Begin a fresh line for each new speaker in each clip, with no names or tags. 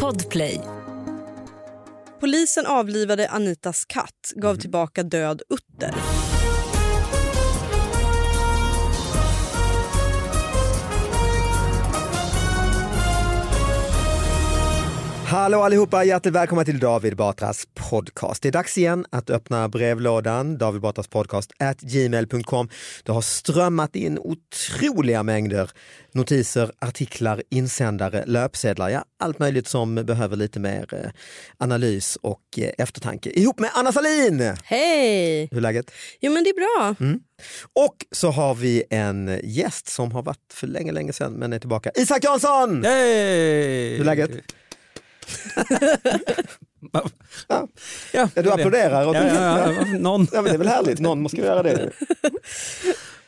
Podplay.
Polisen avlivade Anitas katt, gav tillbaka död utter.
Hallå allihopa, hjärtligt välkomna till David Batras podcast. Det är dags igen att öppna brevlådan, David Batras podcast at gmail.com. Det har strömmat in otroliga mängder notiser, artiklar, insändare, löpsedlar, ja allt möjligt som behöver lite mer eh, analys och eh, eftertanke. Ihop med Anna Salin!
Hej!
Hur är läget?
Jo men det är bra.
Och så har vi en gäst som har varit för länge, länge sedan men är tillbaka. Isak Jansson!
Hej!
Mm. Hur är läget?
Ja,
Ja, du applåderar åt
Ja, ja, ja, någon.
Ja, men det är väl härligt, någon måste ju göra det.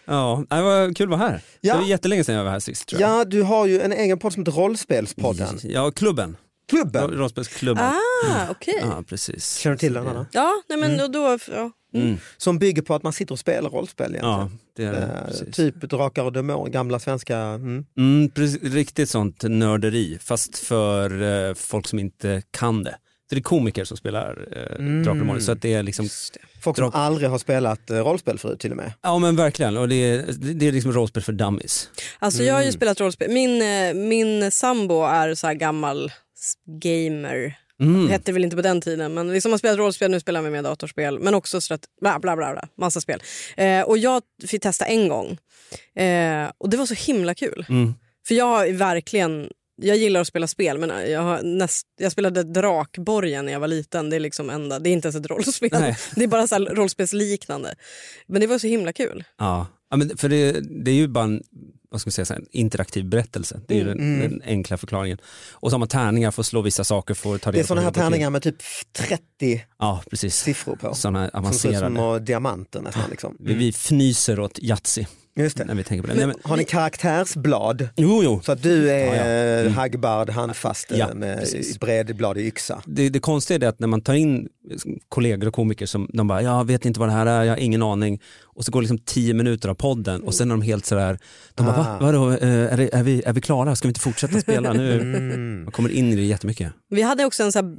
Ja, nej, vad kul att vara här.
Ja.
Det var jättelänge sedan jag var här sist tror jag.
Ja, du har ju en egen podd som heter Rollspelspodden.
Ja, klubben.
Klubben.
Ro- Rollspelsklubben.
Ah, okej.
Ja, precis.
Känner du till den Anna?
Ja, nej men och då... Ja.
Mm.
Som bygger på att man sitter och spelar rollspel
Ja,
egentligen.
det
Eh,
är det. Precis.
typ Drakar och Demoner, gamla svenska. Mm.
Mm, precis, riktigt sånt nörderi, fast för eh, folk som inte kan det. Så det är komiker som spelar eh,
Mm.
Drakar och Demoner, så att det är liksom,
Folk som
Drak-
aldrig har spelat eh, rollspel förut till och med.
ja men verkligen, och det är, det är liksom rollspel för dummies.
Alltså jag har ju spelat rollspel. Min, eh, min sambo är så här gammal s- gamer.
Mm.
Hette det väl inte på den tiden, men liksom har spelat rollspel, nu spelar vi med datorspel. Men också strate- bla bla bla, bla massa spel. Eh, och jag fick testa en gång. Eh, och det var så himla kul.
Mm.
För jag har verkligen, jag gillar att spela spel men jag, har näst, jag spelade Drakborgen när jag var liten. Det är liksom enda, det är inte ens ett rollspel.
Nej.
Det är bara så här rollspelsliknande. Men det var så himla kul.
Ja, ja men för det, det är ju bara en, vad ska man säga, så här, en interaktiv berättelse. Det är ju
Mm,
den, den enkla förklaringen. Och så har man tärningar för att slå vissa saker för att ta
Det är
reda på
sådana
hur
här
det går till.
tärningar med typ 30
Ja, precis.
siffror på.
Sådana här
Som ser ut som
avancerade.
små diamanter nästan. Liksom.
Vi, vi fnyser åt Yatzy
Just
när
det.
vi tänker på det. Nej, men,
Har ni karaktärsblad?
jo, jo.
Så att du är
Ja, ja.
eh, Hagbard handfast eh,
Ja,
med
precis.
bredbladig yxa.
Det, det konstiga är det att när man tar in kollegor och komiker som de bara, jag vet inte vad det här är, jag har ingen aning. Och så går det liksom tio minuter av podden och sen är de helt sådär, de bara,
Ah.
Va, vadå, eh, är, det, är, vi, är vi klara? Ska vi inte fortsätta spela nu?
Mm.
Man kommer in i det jättemycket.
Vi hade också en så här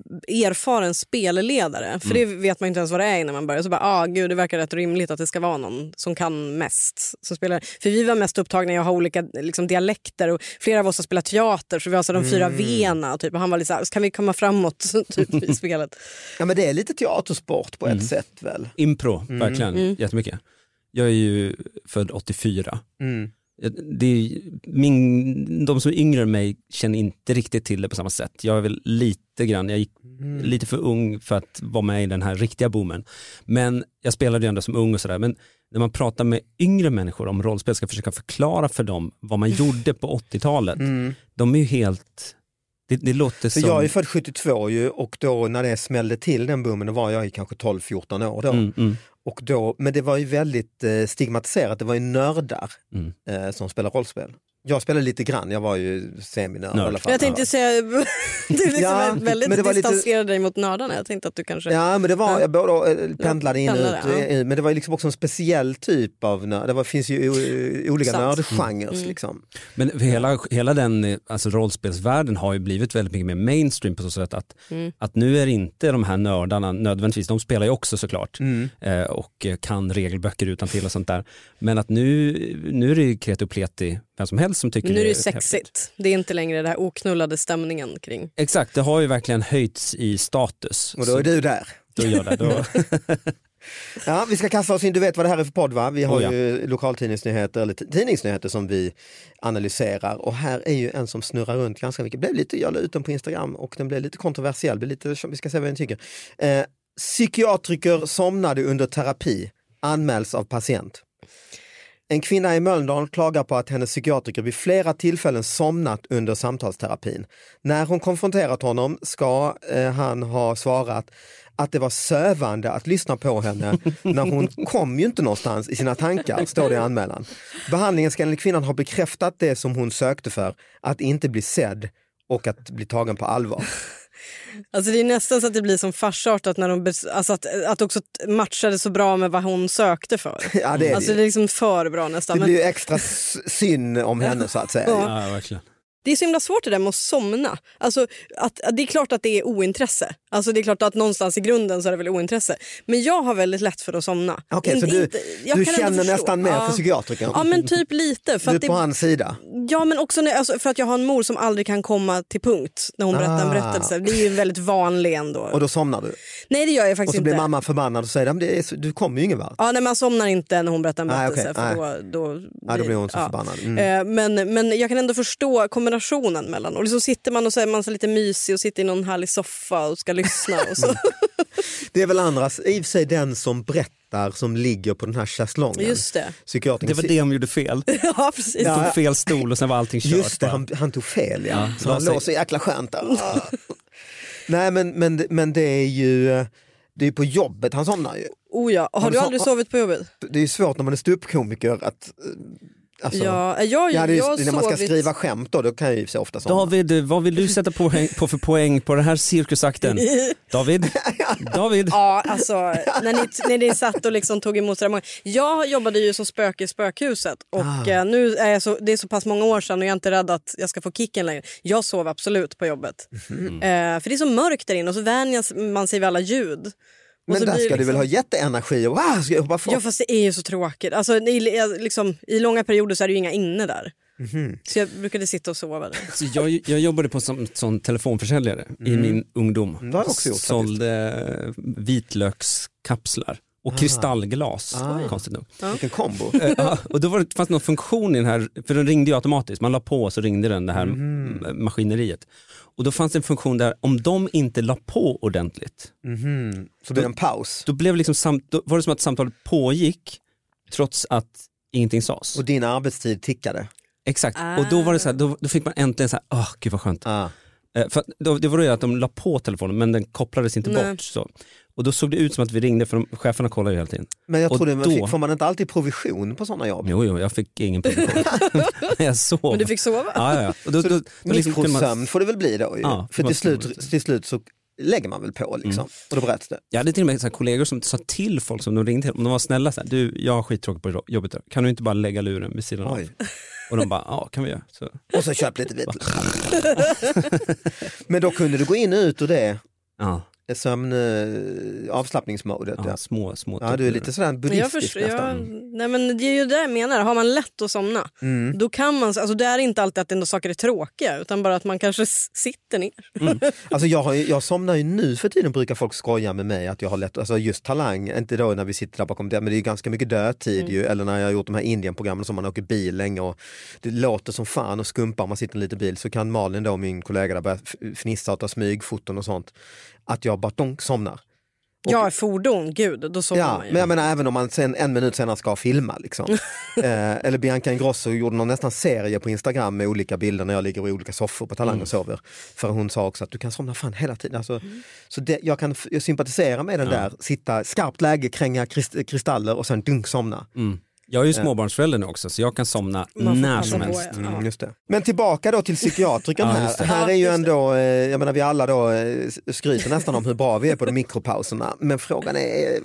erfaren spelledare, för
Mm.
det vet man inte ens vad det är innan man börjar. Så bara, ah, gud, det verkar rätt rimligt att det ska vara någon som kan mest. Som spelar. För vi var mest upptagna i att ha olika liksom, dialekter och flera av oss har spelat teater, så vi har så här, de
Mm.
fyra vena och typ. och han var lite så här, kan vi komma framåt typ, i spelet?
Ja, men det är lite teatersport på
Mm.
ett sätt väl?
Impro,
Mm.
verkligen, jättemycket. Jag är ju född 84.
Mm.
Det är, ju- min, de som är yngre än mig känner inte riktigt till det på samma sätt. Jag är väl lite grann, jag gick
Mm.
lite för ung för att vara med i den här riktiga boomen. Men jag spelade ju ändå som ung och sådär. Men när man pratar med yngre människor om rollspel, ska försöka förklara för dem vad man gjorde på 80-talet. De är ju helt, det, det låter
Mm. För
som...
jag är född 72 ju och då när det smällde till den boomen, då var jag ju kanske 12-14 år då.
mm, mm.
Och då. Men det var ju väldigt eh, stigmatiserat, det var ju nördar
Mm.
eh, som spelade rollspel. Jag spelade lite grann, jag var ju seminörd
Nörd.
i alla fall.
Jag tänkte säga, du liksom
Ja,
väldigt
men det var lite-
distanserade dig mot nördarna. Jag tänkte att du kanske...
Ja men det var, jag både eh, pendlade in och ut,
pendlade,
eh, men det var ju liksom också en speciell typ av nörd, det var, finns ju o- olika
Sant.
nördgenrer.
Mm.
Liksom.
Men för hela, hela den eh, alltså rollspelsvärlden har ju blivit väldigt mycket mer mainstream på så sätt att,
Mm.
att nu är det inte de här nördarna nödvändigtvis, de spelar ju också såklart eh, och eh, kan regelböcker utan till och sånt där. Men att nu, nu är det ju kreti och pleti, vem som helst som tycker
Nu är det
häftigt.
sexigt. Det är inte längre den här oknullade stämningen kring.
Exakt, det har ju verkligen höjts i status.
Och då är du där.
Så då gör det, då.
Ja, vi ska kasta oss in, du vet vad det här är för podd va? Vi har
Oh, ja.
ju lokaltidningsnyheter, eller t- tidningsnyheter som vi analyserar och här är ju en som snurrar runt ganska mycket. Blev lite, jag la ut den på Instagram och den blev lite kontroversiell, blev lite, vi ska se vad ni tycker. Eh, psykiatriker somnade under terapi, anmäls av patient. En kvinna i Mölndal klagar på att hennes psykiatriker vid flera tillfällen somnat under samtalsterapin. När hon konfronterat honom ska eh, han ha svarat att det var sövande att lyssna på henne när hon kom ju inte någonstans i sina tankar, står det i anmälan. Behandlingen ska enligt kvinnan ha bekräftat det som hon sökte för, att inte bli sedd och att bli tagen på allvar.
Alltså det är nästan så att det blir som farsartat när de bes- alltså att, att också t- matchade så bra med vad hon sökte för.
Ja, det är det
alltså
ju.
det är liksom för bra nästan.
Det
Men
blir ju extra s- synd om henne så att säga.
Ja.
ja, verkligen.
Det är så himla svårt det där med att somna. Alltså, att, att det är klart att det är ointresse. Alltså, det är klart att någonstans i grunden så är det väl ointresse. Men jag har väldigt lätt för att somna.
Okej, så
Inte-
du,
inte- jag
du
kan ändå
känner
förstå.
nästan mer för
Ja.
psykiatrikern?
Ja men typ lite. För
du är
att det,
på hans sida?
Ja, men också när, alltså, för att jag har en mor som aldrig kan komma till punkt när hon berättar en
Ah.
berättelse. Det är ju väldigt vanlig ändå.
Och då somnar du?
nej, det gör jag
Och
faktiskt
så blir
inte.
mamma förbannad och säger "Ja, men det är, så- du kommer ju ingen vart.
Ja, nej, man somnar inte när hon berättar en
Nej,
berättelse.
okej,
för då, då,
Ja, då blir hon så
ja.
förbannad. Mm.
Eh, Men, men jag kan ändå förstå kombinationen mellan. Och liksom sitter man och så är man så lite mysig och sitter i någon härlig soffa och ska lyssna. Och så.
Det är väl andras, i och för sig den som berättar som ligger på den här schäslongen.
Just det.
Psykiatrikern.
Det var det de gjorde fel.
Ja, precis.
De tog fel stol och sen var allting kört.
Just det,
bara.
han, han tog fel ja.
Ja,
så han
så-
låg så jäkla skönt där. Ah. Nej men, men, men det är ju eh, det är på jobbet han somnar ju.
Oh, ja. Har
Har
du
du så-
aldrig sovit på jobbet?
Det är ju svårt när man är ståuppkomiker att... eh, Alltså,
Ja, jag, jag,
ja, det är
jag har
ju, när man ska
sovit-
skriva skämt då, då kan jag ju så ofta somna.
David, vad vill du sätta poäng, på för poäng på den här cirkusakten? David? David?
Ja, alltså när ni, när ni satt och liksom tog emot så där många. Jag jobbade ju som spöke i spökhuset och eh, nu är jag så, det är så pass många år sedan och jag är inte rädd att jag ska få kicken längre. Jag sov absolut på jobbet. Eh, för det är så mörkt där inne och så vänjer man sig vid alla ljud. Och
men
så
där ska
blir det
du
liksom-
väl ha jätteenergi och wow, ska jag hoppa fort?
Ja fast det är ju så tråkigt. Alltså, i, liksom, I långa perioder så är det ju inga inne där. Så jag brukade sitta och sova där.
Så jag, jag jobbade på som, som telefonförsäljare i min ungdom.
Det Mm. har jag också gjort
Sålde eh, vitlökskapslar och
Ah.
kristallglas, konstigt nog.
Vilken kombo.
Eh, ja, och då var det, fanns det någon funktion i den här, för den ringde ju automatiskt, man la på och så ringde den det här eh,
Mm.
maskineriet. Och då fanns det en funktion där, om de inte la på ordentligt,
Mhm. Så blir det en paus.
då, blev liksom samt, då var det som att samtalet pågick trots att ingenting sades.
Och din arbetstid tickade.
Exakt, och då var det så här, då, då fick man äntligen så här, åh gud vad skönt.
Ah.
Eh, För att då, det var det att de la på telefonen men den kopplades inte
Nej.
bort. Så. Och då såg det ut som att vi ringde för de, cheferna kollade ju hela tiden.
Men jag
Och
trodde, man
då-
fick, får man inte alltid provision på sådana jobb?
Jo, jo, jag fick ingen provision. Men jag sov.
Men du fick sova?
Ja, ja, ja. Och då, då, då, liksom kunde man-
Mikrosömn får det väl bli då ju.
Ja,
För
vad Mm.
till
roligt.
slut, till slut så lägger man väl på liksom. Och då bröts det.
Jag hade till och med så här kollegor som sa till folk som de ringde till, om de var snälla, så här, du jag har skittråkigt på jobbet, idag. kan du inte bara lägga luren vid sidan av?
Oj.
Och de bara, ja kan vi göra. Så.
Och så köp lite vitlök. Men då kunde du gå in och ut ur det
Ja,
sömn, eh, avslappningsmodet. Ja,
ja, små, små.
ja. du är lite sådär
Jag
buddhistisk
förstår, jag,
nästan. Mm.
nej men det är ju det jag menar. Har man lätt att somna, då kan man... Alltså det är inte alltid att ändå saker är tråkiga, utan bara att man kanske s- sitter ner.
Alltså jag, har, ju- jag somnar ju nu för tiden brukar folk skoja med mig att jag har lätt, alltså just Talang, inte då när vi sitter där bakom det, men det är ju ganska mycket dödtid ju, eller när jag har gjort de här Indienprogrammen som man åker bil länge och det låter som fan och skumpar om man sitter i en liten bil så kan Malin då, min kollega där, börja f- fnissa och ta smygfoton och sånt. Att jag bara donk, somnar.
Jag är fordon, gud, då somnar
Ja,
man ju.
men jag menar även om man sen, en minut senare ska filma. Liksom. eh, eller Bianca Ingrosso gjorde någon nästan serie på Instagram med olika bilder när jag ligger i olika soffor på Talang och sover. För hon sa också att du kan somna fan hela tiden. Alltså, Så det, jag kan f- jag sympatisera med den där, sitta skarpt läge, kränga krist, kristaller och sen dunk somna.
Jag är ju småbarnsförälder nu också, så jag kan somna
Man får
när
passa
som
på,
helst.
ja.
Mm, just det. Men tillbaka då till psykiatrikern
Ja, just
här.
det.
Här
Ja,
är ju
just
ändå, eh, jag menar vi alla då eh, skryter nästan om hur bra vi är på de mikropauserna. Men frågan är, eh,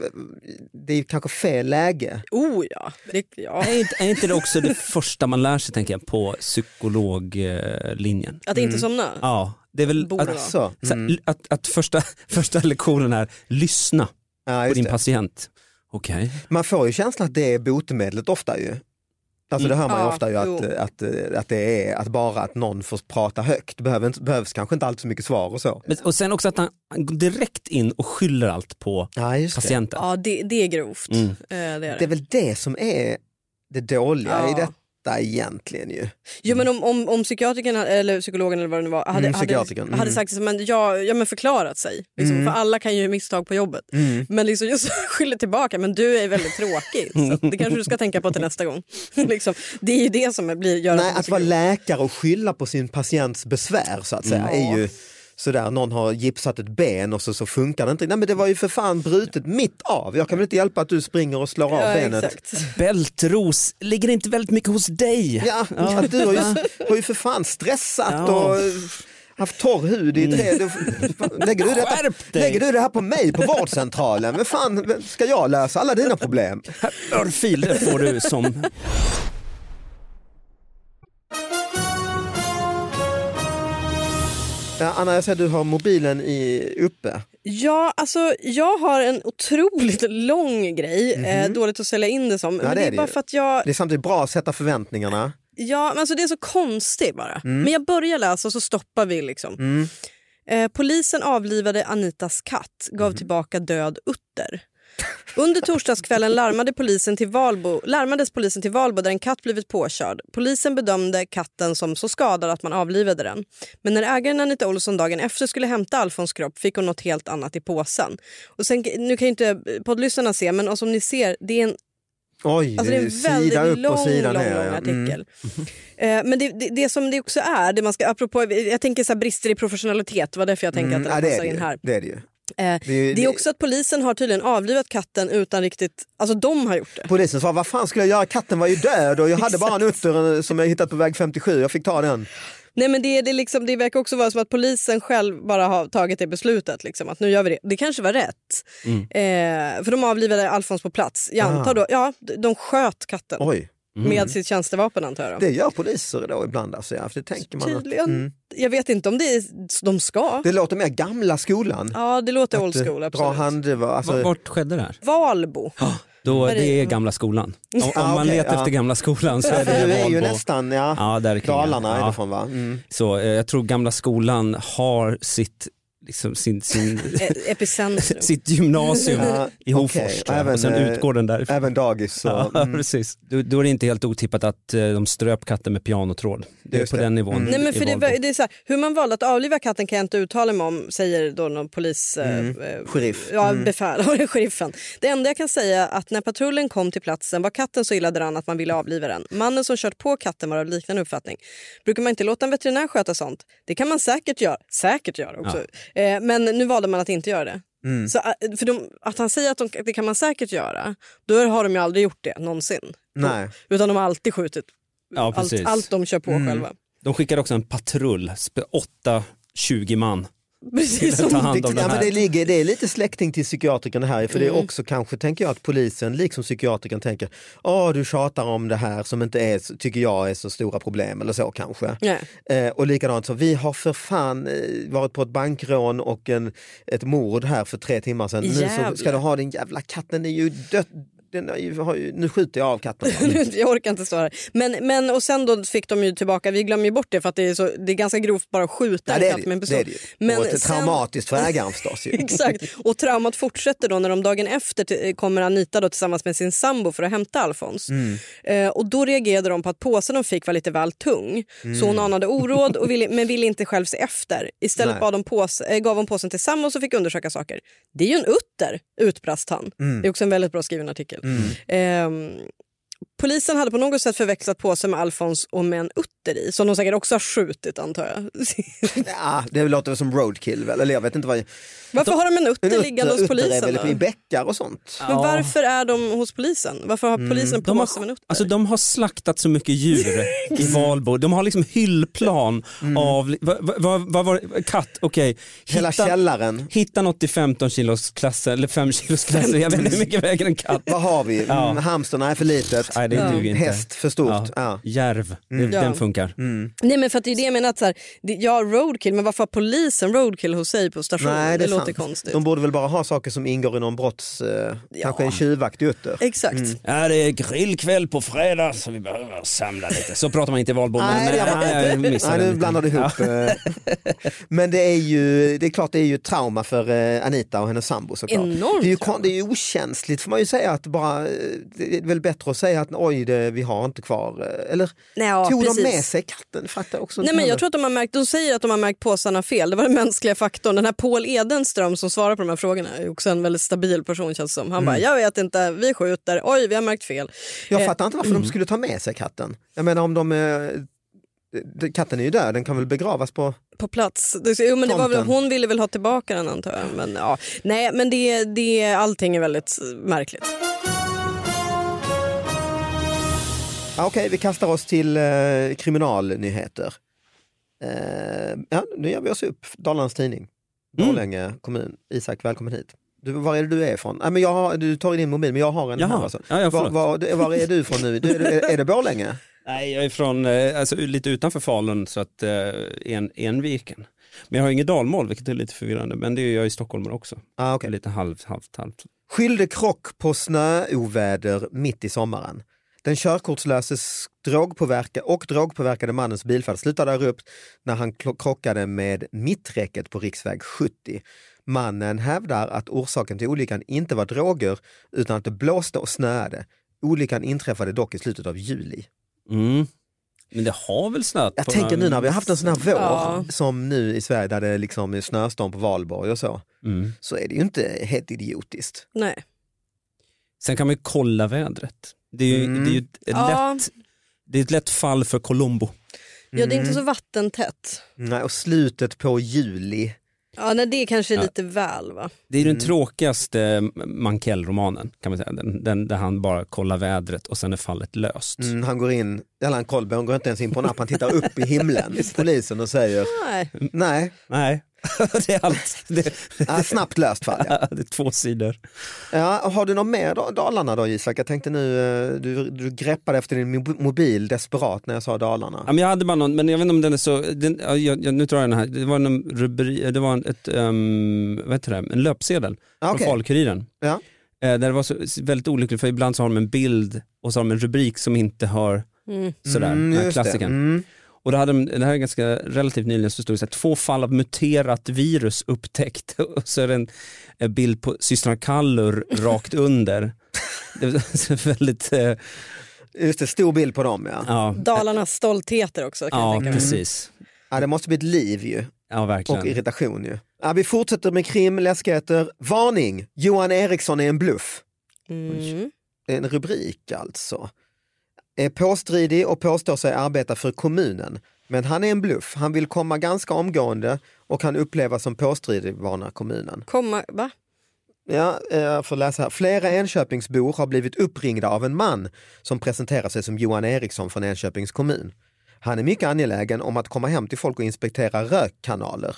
det är ju kanske fel läge.
Oh ja. Det, ja.
Är inte, är inte det också det första man lär sig, tänker jag, på psykologlinjen?
Att
Mm.
inte somna.
Ja, det är väl
Borde vara.
att,
Alltså,
så här, att, att första, första lektionen är lyssna
Ja,
på
just
din
det.
patient. Okej.
Man får ju känslan att det är botemedlet ofta ju. Alltså det hör man ju
Ja,
ofta ju att,
jo.
att, att det är att bara att någon får prata högt. Det behöver inte, behövs kanske inte allt så mycket svar och så.
Men- Och sen också att han han går direkt in och skyller allt på
Ja, just det.
patienten.
Ja, det, det är grovt.
Mm.
Eh, Det är det.
det är väl det som är det dåliga
Ja.
i detta egentligen ju.
Jo, men om, om, om psykiatrikern hade- eller psykologen eller vad det nu var hade,
Mm,
hade,
psykiatrikern. Mm.
hade sagt liksom, men, ja, ja, men förklarat sig. Liksom, För alla kan ju misstag på jobbet.
Mm.
Men liksom just skyller tillbaka, men du är väldigt tråkig. så att det kanske du ska tänka på till nästa gång. liksom, det är ju det som blir, gör
Nej,
man
att
blir
vara
grov.
läkare och skylla på sin patients besvär så att säga är ju sådär, någon har gipsat ett ben och så, så funkar det inte. Nej men det var ju för fan brutet mitt av. Jag kan väl inte hjälpa att du springer och slår av
ja,
benet.
exakt.
Bältros, ligger det inte väldigt mycket hos dig?
Ja, Att du har ju, har ju för fan stressat
Ja.
och haft torr hud i tre...
Mm.
då- Lägger du, detta,
Skärp dig!
lägger du det här på mig på vårdcentralen? Vem fan ska jag lösa alla dina problem?
Här, Örfil, det får du som...
Ja, Anna, jag ser att du har mobilen i, uppe.
Ja, alltså jag har en otroligt lång grej. Eh, dåligt att sälja in det som. men
Mhm. det
det är,
är det
bara
ju.
för att jag...
Det är samtidigt bra att sätta förväntningarna.
Ja, men alltså det är så konstigt bara. Men jag börjar läsa och så stoppar vi liksom. Eh, polisen avlivade Anitas katt, gav tillbaka död utter. Under torsdagskvällen larmade polisen till Valbo, larmades polisen till Valbo där en katt blivit påkörd. Polisen bedömde katten som så skadad att man avlivade den. Men när ägaren Anita Olsson dagen efter skulle hämta Alfons kropp fick hon något helt annat i påsen. Och sen, nu kan ju inte poddlyssnarna se, men som ni ser, det är en
Oj,
Alltså det är en väldigt
Eh, sida upp
lång,
och sida
lång,
ner.
lång
ja. Mm.
artikel. Eh, men det, det, det som det också är, det man ska, apropå, jag tänker så här, brister i professionalitet, det var därför jag tänker
Mm,
att
ja,
den
det, är
passar
det,
in här.
ju. det är det ju.
Eh,
Det är ju-
det är också att polisen har tydligen avlivat katten utan riktigt, alltså de har gjort det.
Polisen sa, vad fan skulle jag göra? Katten var ju död och jag hade bara en utter eh, som jag hittat på väg 57. Jag fick ta den.
Nej men det, är- det, är liksom, det verkar också vara som att polisen själv bara har tagit det beslutet. Liksom, att nu gör vi det. Det kanske var rätt.
Mm.
Eh, för de avlivade Alfons på plats.
Ah.
Jag antar då, ja, d- de sköt katten.
Oj,
Med sitt tjänstevapen antar jag. då.
Mm. det Mm. gör poliser då ibland alltså. Ja, för det tänker man att,
Tydligen. Jag vet inte om det är, de ska.
Det låter mer gamla skolan.
Ja, det låter old
Att, eh,
school.
Dra
Absolut.
hand, va, alltså,
V- Vart skedde det här?
Valbo. eh,
Då,
Var det-
det är gamla skolan. Om, om
Ah,
man
okej,
letar
ja.
efter gamla skolan så är det
du är ju
Valbo.
nästan, ja,
Ja, där kring,
Dalarna är
ja.
det från va? Mm.
Så eh, jag tror gamla skolan har sitt, liksom, sin, sin,
E- Epicentrum.
sitt gymnasium
Ja,
i Hofors
okej.
tror jag.
Även,
och sen
eh,
utgår den därifrån.
Även dagis. Så,
Ja,
mm.
precis. Då, då är det inte helt otippat att eh, de ströp katten med pianotråd. Det är
Just
på
det. Mm.
den nivån.
Nej, men
i
för det,
Valbo.
var- det är så här, hur man valde att avliva katten kan jag inte uttala mig om, säger då någon polis...
Mm.
eh, eh,
Sheriff.
Ja,
Mm.
befäl, sheriffen. Det enda jag kan säga är att när patrullen kom till platsen var katten så illa däran att man ville avliva den. Mannen som kört på katten var av liknande uppfattning. Brukar man inte låta en veterinär sköta sånt? Det kan man säkert göra. Säkert göra också. Eh, men nu valde man att inte göra det.
Mm.
Så, eh, för de, att han säger att de, det kan man säkert göra, då har de ju aldrig gjort det någonsin.
Nej.
Utan de har alltid skjutit
Mm. Ja,
allt,
precis. Mm.
allt de kör på själva.
De skickade också en patrull, 8-20 man.
Precis
Ta
som,
hand
Det,
om den
ja, men
här.
det, ligger, det är lite släkting till psykiatrikerna här, för
Mm.
det är också kanske, tänker jag, att polisen liksom psykiatrikern tänker, åh du tjatar om det här som inte är, så- tycker jag är så stora problem eller så kanske.
Ja.
Eh, och likadant så, vi har för fan eh, varit på ett bankrån och en, ett mord här för tre timmar sedan. Nu
Jävlar.
så ska du ha din jävla katt, den är ju död. Den har ju, har ju, nu skjuter jag av katten.
jag orkar inte stå här. Men, men, och sen då fick de ju tillbaka, vi glömmer ju bort det för att det är, så, det är ganska grovt bara att skjuta
Ja,
en
det är
katt
det,
med en
ju. det,
pistol.
är det ju.
Men
och det är
sen-
traumatiskt för ägaren förstås. Ju.
Exakt. Och traumat fortsätter då när de dagen efter till- kommer Anita då tillsammans med sin sambo för att hämta Alfons.
Mm.
Eh, och då reagerade de på att påsen de fick var lite väl tung. Så hon anade oråd och ville, men ville inte själv se efter. Istället
Mm. Nej.
bad de pås, eh, gav hon påsen till sambo och så fick undersöka saker. Det är ju en utter, utbrast han.
Mm.
Det är också en väldigt bra skriven artikel. Ehm, Polisen hade på något sätt förväxlat påsen med Alfons och med en utter i, som de säkert också har skjutit antar jag.
Ja, det låter väl som roadkill, väl? eller jag vet inte vad...
Varför har de en
En
utter liggande hos
utter är
polisen?
väl
då?
I bäckar och sånt.
Men varför är de hos polisen? Varför
Mm,
har polisen en
De har,
påse med nötter?
alltså, de har slaktat så mycket djur i Valbo. De har liksom hyllplan av, vad va, va, vad var det? katt, okej.
Mm. Hela
Hitta-
källaren.
Hitta något i 15 kilos klassen eller 5 kilos klassen, jag vet inte hur mycket väger en katt.
Vad har vi? Mm,
Ja.
Hamstern är för litet. Mm.
Nej det duger inte.
Häst för stort. Ja. Mm.
Järv, Det-
Ja.
den funkar.
Nej men för att det är det jag menar, att så här, det, ja roadkill, men varför har polisen roadkill hos sig på stationen?
Nej,
det
det, är
låter
sant.
konstigt.
De borde väl bara ha saker som ingår i någon brotts... Eh, Kanske en tjuvakt i utter.
Exakt.
Mm.
Ja, det är grillkväll på fredag så vi behöver samla lite. Så pratar man inte i Valbo. men-
Nej, det gör man
Nej, jag missade
Nej,
den
nu
lite.
blandar du
Ja.
ihop. eh. Men det är ju, det är klart det är ju ett trauma för eh, Anita och hennes sambo såklart.
Enormt
det, är ju,
trauma.
kon- det är ju okänsligt får man ju säga att bara, eh, det är väl bättre att säga att oj, det, vi har inte kvar, eh, eller
Nej, ja,
tog
precis.
de med sig katten? Fattar jag också
Nej,
inte
men jag
heller.
tror att de, har märkt, de säger att de har märkt påsarna fel. Det var den mänskliga faktorn. Den här Paul Edenström som svarar på de här frågorna är också en väldigt stabil person känns det som. Han bara, jag vet inte, vi skjuter, oj vi har märkt fel.
Mm. Jag
Eh,
fattar inte varför
mm.
de skulle ta med sig katten. Jag menar om de... är- de- Katten är ju död, den kan väl begravas på...
på plats. Det- Jo, men det var väl,
Tomten.
hon ville väl ha tillbaka den antar jag. Men, ja. Nej, men det, det, allting är väldigt märkligt.
Ah, Okej, vi kastar oss till eh, kriminalnyheter. Eh, ja, nu ger vi oss upp. Dalarnas Tidning,
Mm.
Borlänge kommun. Isak, välkommen hit. Du, var är det du är ifrån? Nej, men jag har, du tar i din mobil, men jag har en
Jaha.
här. Alltså.
Ja, ja,
var,
förlåt.
var, du- var är du ifrån nu? Du, är, du- är, är det Borlänge?
Nej, jag är från, eh, alltså, lite utanför Falun, så att eh, en, Enviken. Men jag har inget dalmål, vilket är lite förvirrande. Men det är ju jag i Stockholm också.
Ah, okay.
Lite halvt, halvt, halvt.
Skyllde krock på snöoväder mitt i sommaren. Den körkortslöses drogpåverka och drogpåverkade mannens bilfärd slutade abrupt när han klo- krockade med mitträcket på riksväg 70. Mannen hävdar att orsaken till olyckan inte var droger utan att det blåste och snöade. Olyckan inträffade dock i slutet av juli.
Mm. Men det har väl snöat?
Jag
på
tänker
några-
nu när vi har haft en sån här vår
Ja.
som nu i Sverige där det liksom är snöstorm på valborg och så,
Mm.
så är det ju inte helt idiotiskt.
Nej.
Sen kan man ju kolla vädret. Det är ju,
Mm.
det är ju ett,
Ja.
lätt, det är ett lätt fall för Colombo.
Ja, det är inte
Mm.
så vattentätt.
Nej, och slutet på juli.
Ja, nej, det kanske är
Ja.
lite väl va?
Det är den
Mm.
tråkigaste Mankell-romanen, kan man säga. Den, den, där han bara kollar vädret och sen är fallet löst.
Mm, han går in, eller han Kollberg, han går inte ens in på en app, han tittar upp i himlen, polisen och säger
Nej.
nej,
Nej, det är allt. Det,
ah, snabbt löst fall. Ja.
det är två sidor.
Ja, har du något mer då, Dalarna då Isak? Jag tänkte nu, eh, du, du greppade efter din mob- mobil desperat när jag sa Dalarna.
Ja, men jag hade bara någon, men jag vet inte om den är så, den, ja, jag, jag, nu drar jag den här, det var en rubri, det var en, ett, um, vad heter det, en löpsedel
Ah, okej.
från Falkuriren.
Ja.
Eh, där det var så, väldigt olyckligt för ibland så har de en bild och så har de en rubrik som inte hör
Mm.
sådär,
Mm,
den här
just det.
klassikern.
Mm.
Och då hade de, det här är ganska relativt nyligen, så stod det så här, två fall av muterat virus upptäckt. Och så är det en, en bild på systrarna Kallur rakt under. Det var så väldigt, eh,
Just det, stor bild på dem ja.
ja,
Dalarnas stoltheter också kan jag
ja
tänka mig.
precis.
ja. Det måste bli ett liv ju.
Ja
Och
verkligen.
irritation ju. Ja, vi fortsätter med krim, läskigheter. Varning! Johan Eriksson är en bluff.
Mm.
En rubrik alltså. Är påstridig och påstår sig arbeta för kommunen. Men han är en bluff. Han vill komma ganska omgående och han upplevs som påstridig varnar kommunen.
Komma, va?
Ja, eh, jag får läsa här. Flera Enköpingsbor har blivit uppringda av en man som presenterar sig som Johan Eriksson från Enköpings kommun. Han är mycket angelägen om att komma hem till folk och inspektera rökkanaler.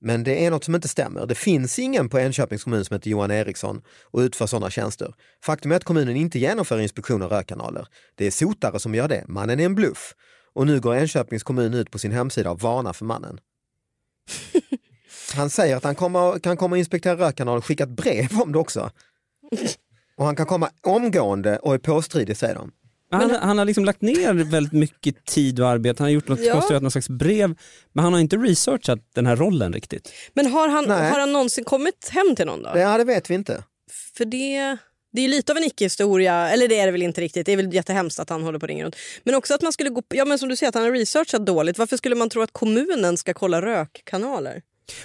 Men det är något som inte stämmer. Det finns ingen på Enköpings kommun som heter Johan Eriksson och utför sådana tjänster. Faktum är att kommunen inte genomför inspektion av rökkanaler. Det är sotare som gör det. Mannen är en bluff. Och nu går Enköpings kommun ut på sin hemsida och varnar för mannen. Han säger att han kommer, kan komma och inspektera rökkanaler och skicka ett brev om det också. Och han kan komma omgående och är påstridig säger de.
Han, han har liksom lagt ner väldigt mycket tid och arbete, han har gjort något,
Ja.
konstruerat någon slags brev, men han har inte researchat den här rollen riktigt.
Men har han,
Nej.
har han någonsin kommit hem till någon då?
Ja, det vet vi inte.
För det, det är ju lite av en icke-historia, eller det är det väl inte riktigt, det är väl jättehemskt att han håller på och ringer runt. Men också att man skulle gå, på- ja men som du säger att han har researchat dåligt, varför skulle man tro att kommunen ska kolla rökkanaler?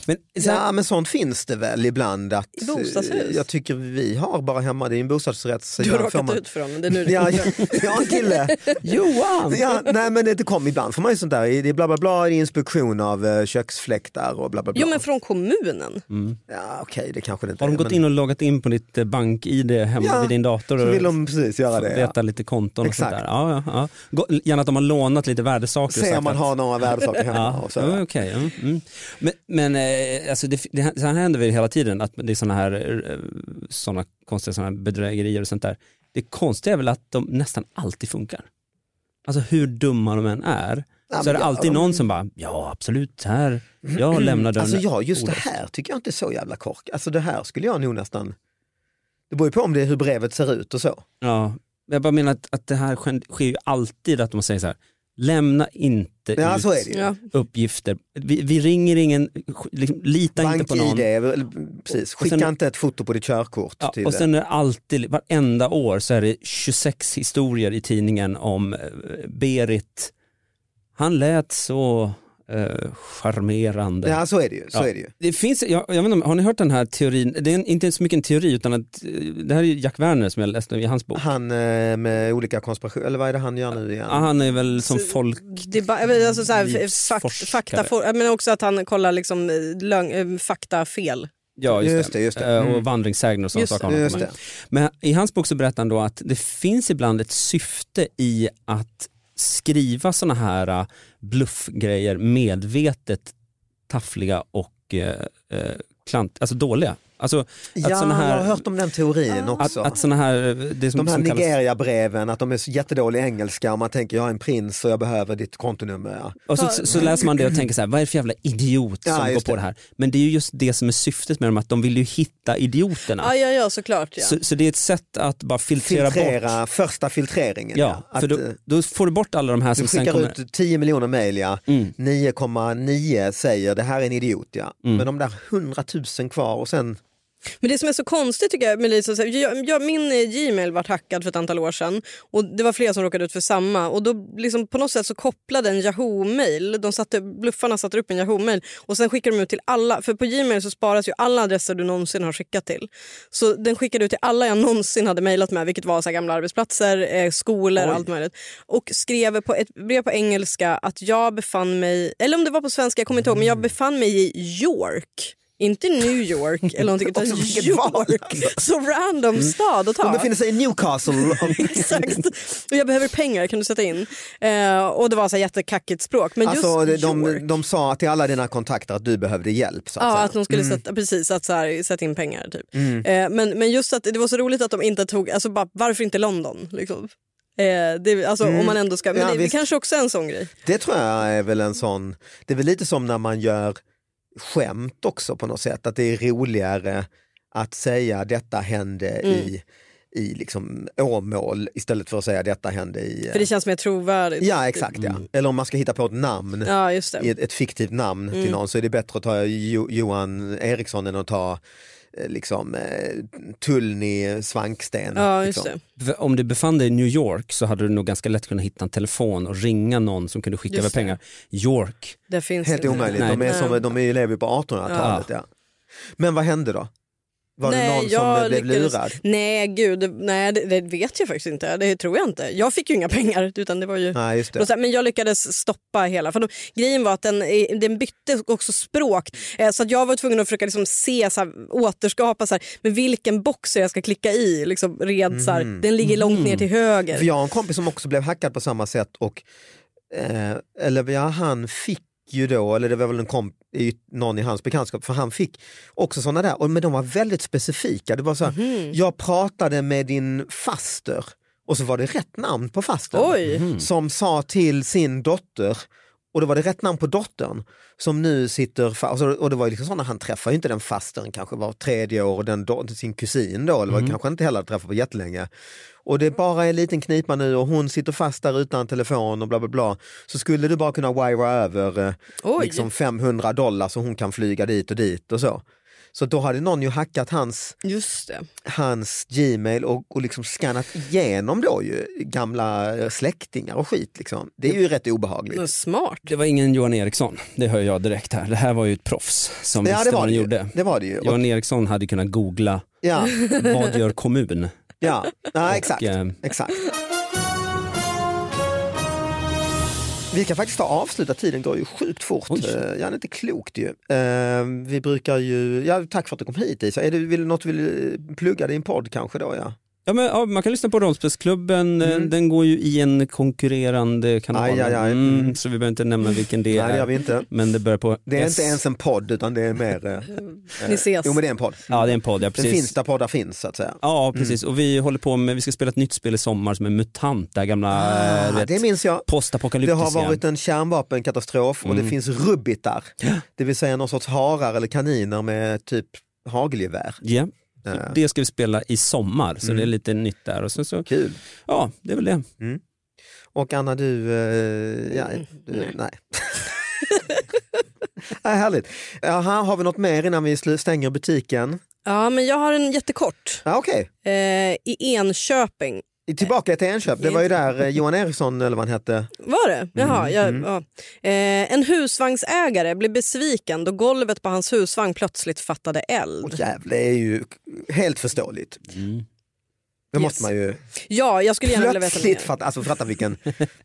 Men, sen-
Ja, men sånt finns det väl ibland att... eh,
I bostadshus?
Jag tycker vi har bara hemma, det är en bostadsrätt.
Du har råkat ut för honom, det är nu det
Ja, jag, jag har en kille.
Johan!
Ja, nej men det kom ibland får man ju sånt där, det är bla bla bla, det är inspektion av eh, köksfläktar och bla bla bla.
Jo men från kommunen?
Ja okej, det kanske det inte
Har de
är,
gått
men-
in och loggat in på ditt eh, bank-id hemma
Ja,
vid din dator?
Så
och-
vill de precis göra det.
veta
Ja.
lite konton och
Exakt.
sånt där. Ja, ja, ja. Gå- Gärna att de har lånat lite värdesaker. och
Se om
sagt
man
att-
har några värdesaker hemma.
Ja,
Och så.
ja, okej. ja, mm. Men, men eh, alltså det, det, så här händer väl hela tiden, att det är sådana här eh, såna konstiga såna här bedrägerier och sånt där. Det konstiga är väl att de nästan alltid funkar. Alltså hur dumma de än är,
Ja,
så
men
är det
ja,
alltid
de-
någon som bara, ja absolut, här, jag lämnar dörren.
Alltså ja, just det
olåst."
här tycker jag inte är så jävla kork. Alltså det här skulle jag nog nästan... Det beror ju på om det är hur brevet ser ut och så.
Ja, men jag bara menar att, att det här sker sker ju alltid att de säger så här, lämna inte
Ja,
ut
så är det ju.
Ja.
uppgifter. Vi, vi ringer ingen, liksom, lita inte på någon.
BankID, är väl- precis.
och sen-
Skicka inte ett foto på ditt körkort.
Ja,
till
och sen är det alltid, varenda år så är det 26 historier i tidningen om eh, Berit. Han lät så eh, charmerande.
Ja, så är det ju. Så
Ja.
är det ju.
Det finns, jag, jag vet inte, om- har ni hört den här teorin, det är en, inte så mycket en teori utan att, eh, det här är ju Jack Werner som jag läste i hans bok.
Han eh, med olika konspirationer, eller vad är det han gör nu igen?
Ja, han är väl som folk,
Det är bara, jag vet, alltså, så här,
Livsforskare.
fakt, fakta, men också att han kollar liksom, eh, lögn, eh, fakta fel.
ja just,
Just det, just det.
Eh,
Mm.
och vandringssägner och sådana
Just det.
saker. har de
Just
kommit
det.
med. Men i hans bok så berättar han då att det finns ibland ett syfte i att skriva såna här eh, bluffgrejer medvetet taffliga och eh, eh, äh, klant, alltså dåliga. Alltså,
Ja,
såna här-
jag har hört om den teorin
att,
också.
att såna här, äh, det som,
de här
som kallas,
Nigeria-breven, att de är så jättedålig engelska och man tänker jag är en prins och jag behöver ditt kontonummer. Ja.
och så, så läser man det och tänker så här, vad är det för jävla idiot som
Ja,
går
just
på
det.
det här? Men det är ju just det som är syftet med dem, att de vill ju hitta idioterna.
Ja, ja, ja såklart. Ja.
Så, så det är ett sätt att bara filtrera, bort.
Filtrera, första filtreringen.
Ja,
ja.
för
Att,
då,
eh,
då får du bort alla de här
Du
som sen
skickar
kommer.
ut 10 miljoner mejl, ja.
Mm.
9,9 säger det här är en idiot. Ja.
Mm.
Men de där 100 000 kvar och sen
Men det som är så konstigt tycker jag med Lisa, så här, jag, jag, min eh, Gmail var hackad för ett antal år sedan och det var flera som råkade ut för samma och då liksom på något sätt så kopplade en Yahoo-mail, de satte, bluffarna satte upp en Yahoo-mail och sen skickade de ut till alla, för på Gmail så sparas ju alla adresser du någonsin har skickat till. Så den skickade ut till alla jag någonsin hade mejlat med, vilket var så här gamla arbetsplatser, eh, skolor och allt möjligt. Och skrev på ett brev på engelska att jag befann mig, eller om det var på svenska, jag kommer inte ihåg, men jag befann mig i York. Inte New York eller någonting utan
Också vilket val. Mm.
York. Så random stad att
de
ta.
befinner sig i Newcastle.
Exakt. Och jag behöver pengar, kan du sätta in? Eh, och det var så här jättekackigt språk. Men
Alltså,
just York.
de, alltså, de sa till alla dina kontakter att du behövde hjälp. Så att
Ja,
säga.
att de skulle sätta, precis, att så här, sätta in pengar. Typ.
Mm.
Eh, men, men just att det var så roligt att de inte tog, alltså bara, varför inte London? Liksom? Eh, det, alltså, om man ändå ska, men
Mm. Ja,
det, det
visst.
kanske också är en sån grej.
Det tror jag är väl en sån, det är väl lite som när man gör skämt också på något sätt, att det är roligare att säga detta hände
Mm.
i, i liksom Åmål istället för att säga detta hände i...
För det Mm. känns mer trovärdigt.
Ja exakt ja, eller om man ska hitta på ett namn,
Ja, just det. Mm.
ett, ett fiktivt namn till någon så är det bättre att ta jo, Johan Eriksson än att ta eh, liksom eh, Tullny Svanksten.
Ja, just
liksom.
det.
För Om du befann dig i New York så hade du nog ganska lätt kunnat hitta en telefon och ringa någon som kunde skicka
Just det.
över pengar. York,
det finns
Helt
inte.
omöjligt, de, är
Nej.
som, de är ju lever ju på 1800-talet. Ja. Men vad hände då? Var det någon som
jag
blev
lyckades-
lurad?
Nej, gud, det- nej det, det vet jag faktiskt inte. Det tror jag inte. Jag fick ju inga pengar. Utan det var ju...
Nej, just
Och
det.
så här, Men jag lyckades stoppa hela. För de, grejen var att den, eh, den bytte också språk. Eh, så att jag var tvungen att försöka liksom se, så här, återskapa så här, med vilken box jag ska klicka i. Liksom, red, så här, den ligger långt ner till höger.
Mm. För jag har en kompis som också blev hackad på samma sätt och eh, eller ja, han fick ju då, eller det var väl en komp- i- någon i hans bekantskap, för han fick också sådana där, och, men de var väldigt specifika. Det var så här, jag pratade med din faster och så var det rätt namn på fastern
Oj.
som sa till sin dotter och då var det rätt namn på dottern som nu sitter, fa- alltså, och det var ju liksom sådana, han träffar ju inte den fastern kanske var tredje år, och den do- sin kusin då, eller var kanske inte heller träffat på jättelänge. Och det är bara en liten knipa nu och hon sitter fast där utan telefon och bla bla bla. Så skulle du bara kunna wira över eh,
Oj.
liksom 500 dollar så hon kan flyga dit och dit och så. Så då hade någon ju hackat hans
Just det.
hans Gmail och, och liksom skannat igenom då ju gamla eh, släktingar och skit. Liksom. Det är ju rätt obehagligt.
Men Smart.
det var ingen Johan Eriksson, det hör jag direkt här. Det här var ju ett proffs som
Ja,
visste
det
vad
var
han
det, ju.
gjorde.
det var det ju. Och,
Johan Eriksson hade kunnat googla,
ja,
vad gör kommun?
ja, ja exakt.
eh,
exakt. Vi kan faktiskt ta avsluta, tiden går ju sjukt fort.
Oj.
Eh, Ja, det är inte klokt ju. Eh, Vi brukar ju, ja, tack för att du kom hit Isa. Är det vill, du- något du vill eh, plugga din podd kanske då? Ja,
Ja, men, ja, man kan lyssna på Rollspelsklubben, eh, den går ju i en konkurrerande kanal.
Mm. Aj, aj, aj.
Mm,
Mm.
så vi behöver inte nämna vilken det
Nej det gör
är.
vi inte.
Men det börjar på
Det är
S.
inte ens en podd utan det är mer, eh,
Ni ses.
jo men det är en podd.
Ja, det är en podd, ja,
Den
precis.
finns Mm. där poddar finns så att säga.
Ja, precis. Och vi håller på med, vi ska spela ett nytt spel i sommar som är MUTANT, det här gamla eh,
Ah,
vet,
det minns jag. Det
postapokalyptiska.
har varit en kärnvapenkatastrof och
Mm.
det finns rubbitar, det vill säga någon sorts harar eller kaniner med typ hagelgevär.
Ja.
Eh,
Det ska vi spela i sommar, så
Mm.
det är lite nytt där. Och sen så,
Kul.
ja, det är väl det.
Och Anna du, eh, ja,
Mm,
du nej. Ja, härligt. Jaha, har vi något mer innan vi slu- stänger butiken?
Ja, men jag har en jättekort.
Ja, Okej,
Eh, I Enköping.
tillbaka till Enköp. Det var ju där eh, Johan Eriksson eller vad han hette.
Var det?
Mm,
Jaha, jag, ja. eh, en husvagnsägare blev besviken då golvet på hans husvagn plötsligt fattade eld.
Åh jävlar, det är ju helt förståeligt. Det måste man ju
Ja, jag skulle gärna vilja veta mer.
plötsligt fatta, alltså fatta vilken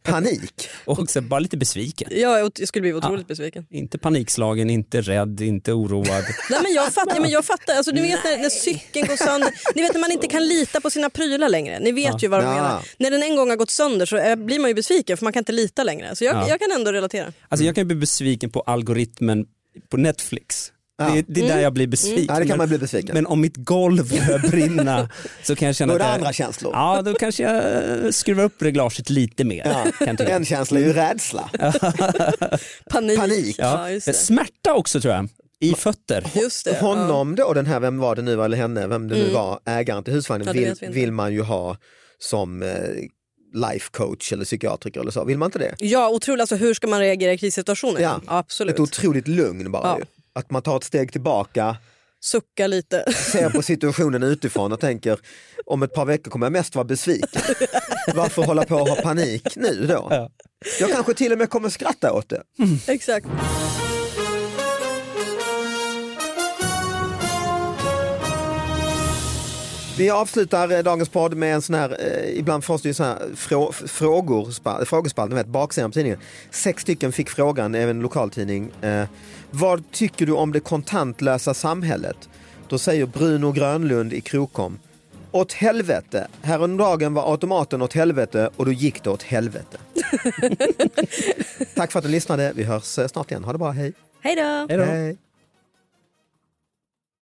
panik.
Och också bara lite besviken.
Ja, jag jag skulle bli
Ah.
otroligt besviken.
Inte panikslagen, inte rädd, inte oroad.
Nej, men jag fattar, ja, men jag fattar. Alltså, ni vet när, när cykeln går sönder, ni vet när man inte kan lita på sina prylar längre. Ni vet ju vad de
Ah. Ja.
menar. När den en gång har gått sönder så eh, blir man ju besviken för man kan inte lita längre. Så jag,
Ja.
jag kan ändå relatera.
Alltså jag kan ju bli besviken på algoritmen på Netflix. Det, är- det är där jag blir besviken.
Ja, det kan man
Men-
bli besviken.
Men om mitt golv börjar brinna så kan jag känna
Då är
att
det
jag,
andra känslor.
Ja, då kanske jag skruvar upp reglaget lite mer.
Ja.
Kan jag tycka.
En känsla är ju rädsla.
Panik.
Panik.
Ja, just det.
Smärta också tror jag, i fötter.
Just det. ja. Mm.
Honom då, den här, vem var det nu, eller henne, vem det nu var, ägaren till husvagnen,
Ja, det
vill,
vet vi inte.
vill man ju ha som eh, life coach eller psykiatriker eller så. Vill man inte det?
Ja, otroligt. Alltså, hur ska man reagera i krissituationer?
Ja.
absolut.
Ett otroligt lugn bara
Ja.
ju. Att man tar ett steg tillbaka,
Sucka lite.
ser på situationen utifrån och tänker om ett par veckor kommer jag mest vara besviken. Varför hålla på och ha panik nu då? Jag kanske till och med kommer skratta åt det.
Exakt.
Vi avslutar eh, dagens podd med en sån här, eh, ibland får det ju sån här frå, frågor, spa- frågespalt, ni vet baksidan på tidningen. Sex stycken fick frågan, även en lokaltidning. Eh, vad tycker du om det kontantlösa samhället? Då säger Bruno Grönlund i Krokom. Åt helvete! Häromdagen var automaten åt helvete och då gick det åt helvete. Tack för att du lyssnade. Vi hörs eh, snart igen. Ha det bra. Hej!
Hej då!
Hej då.
Hej.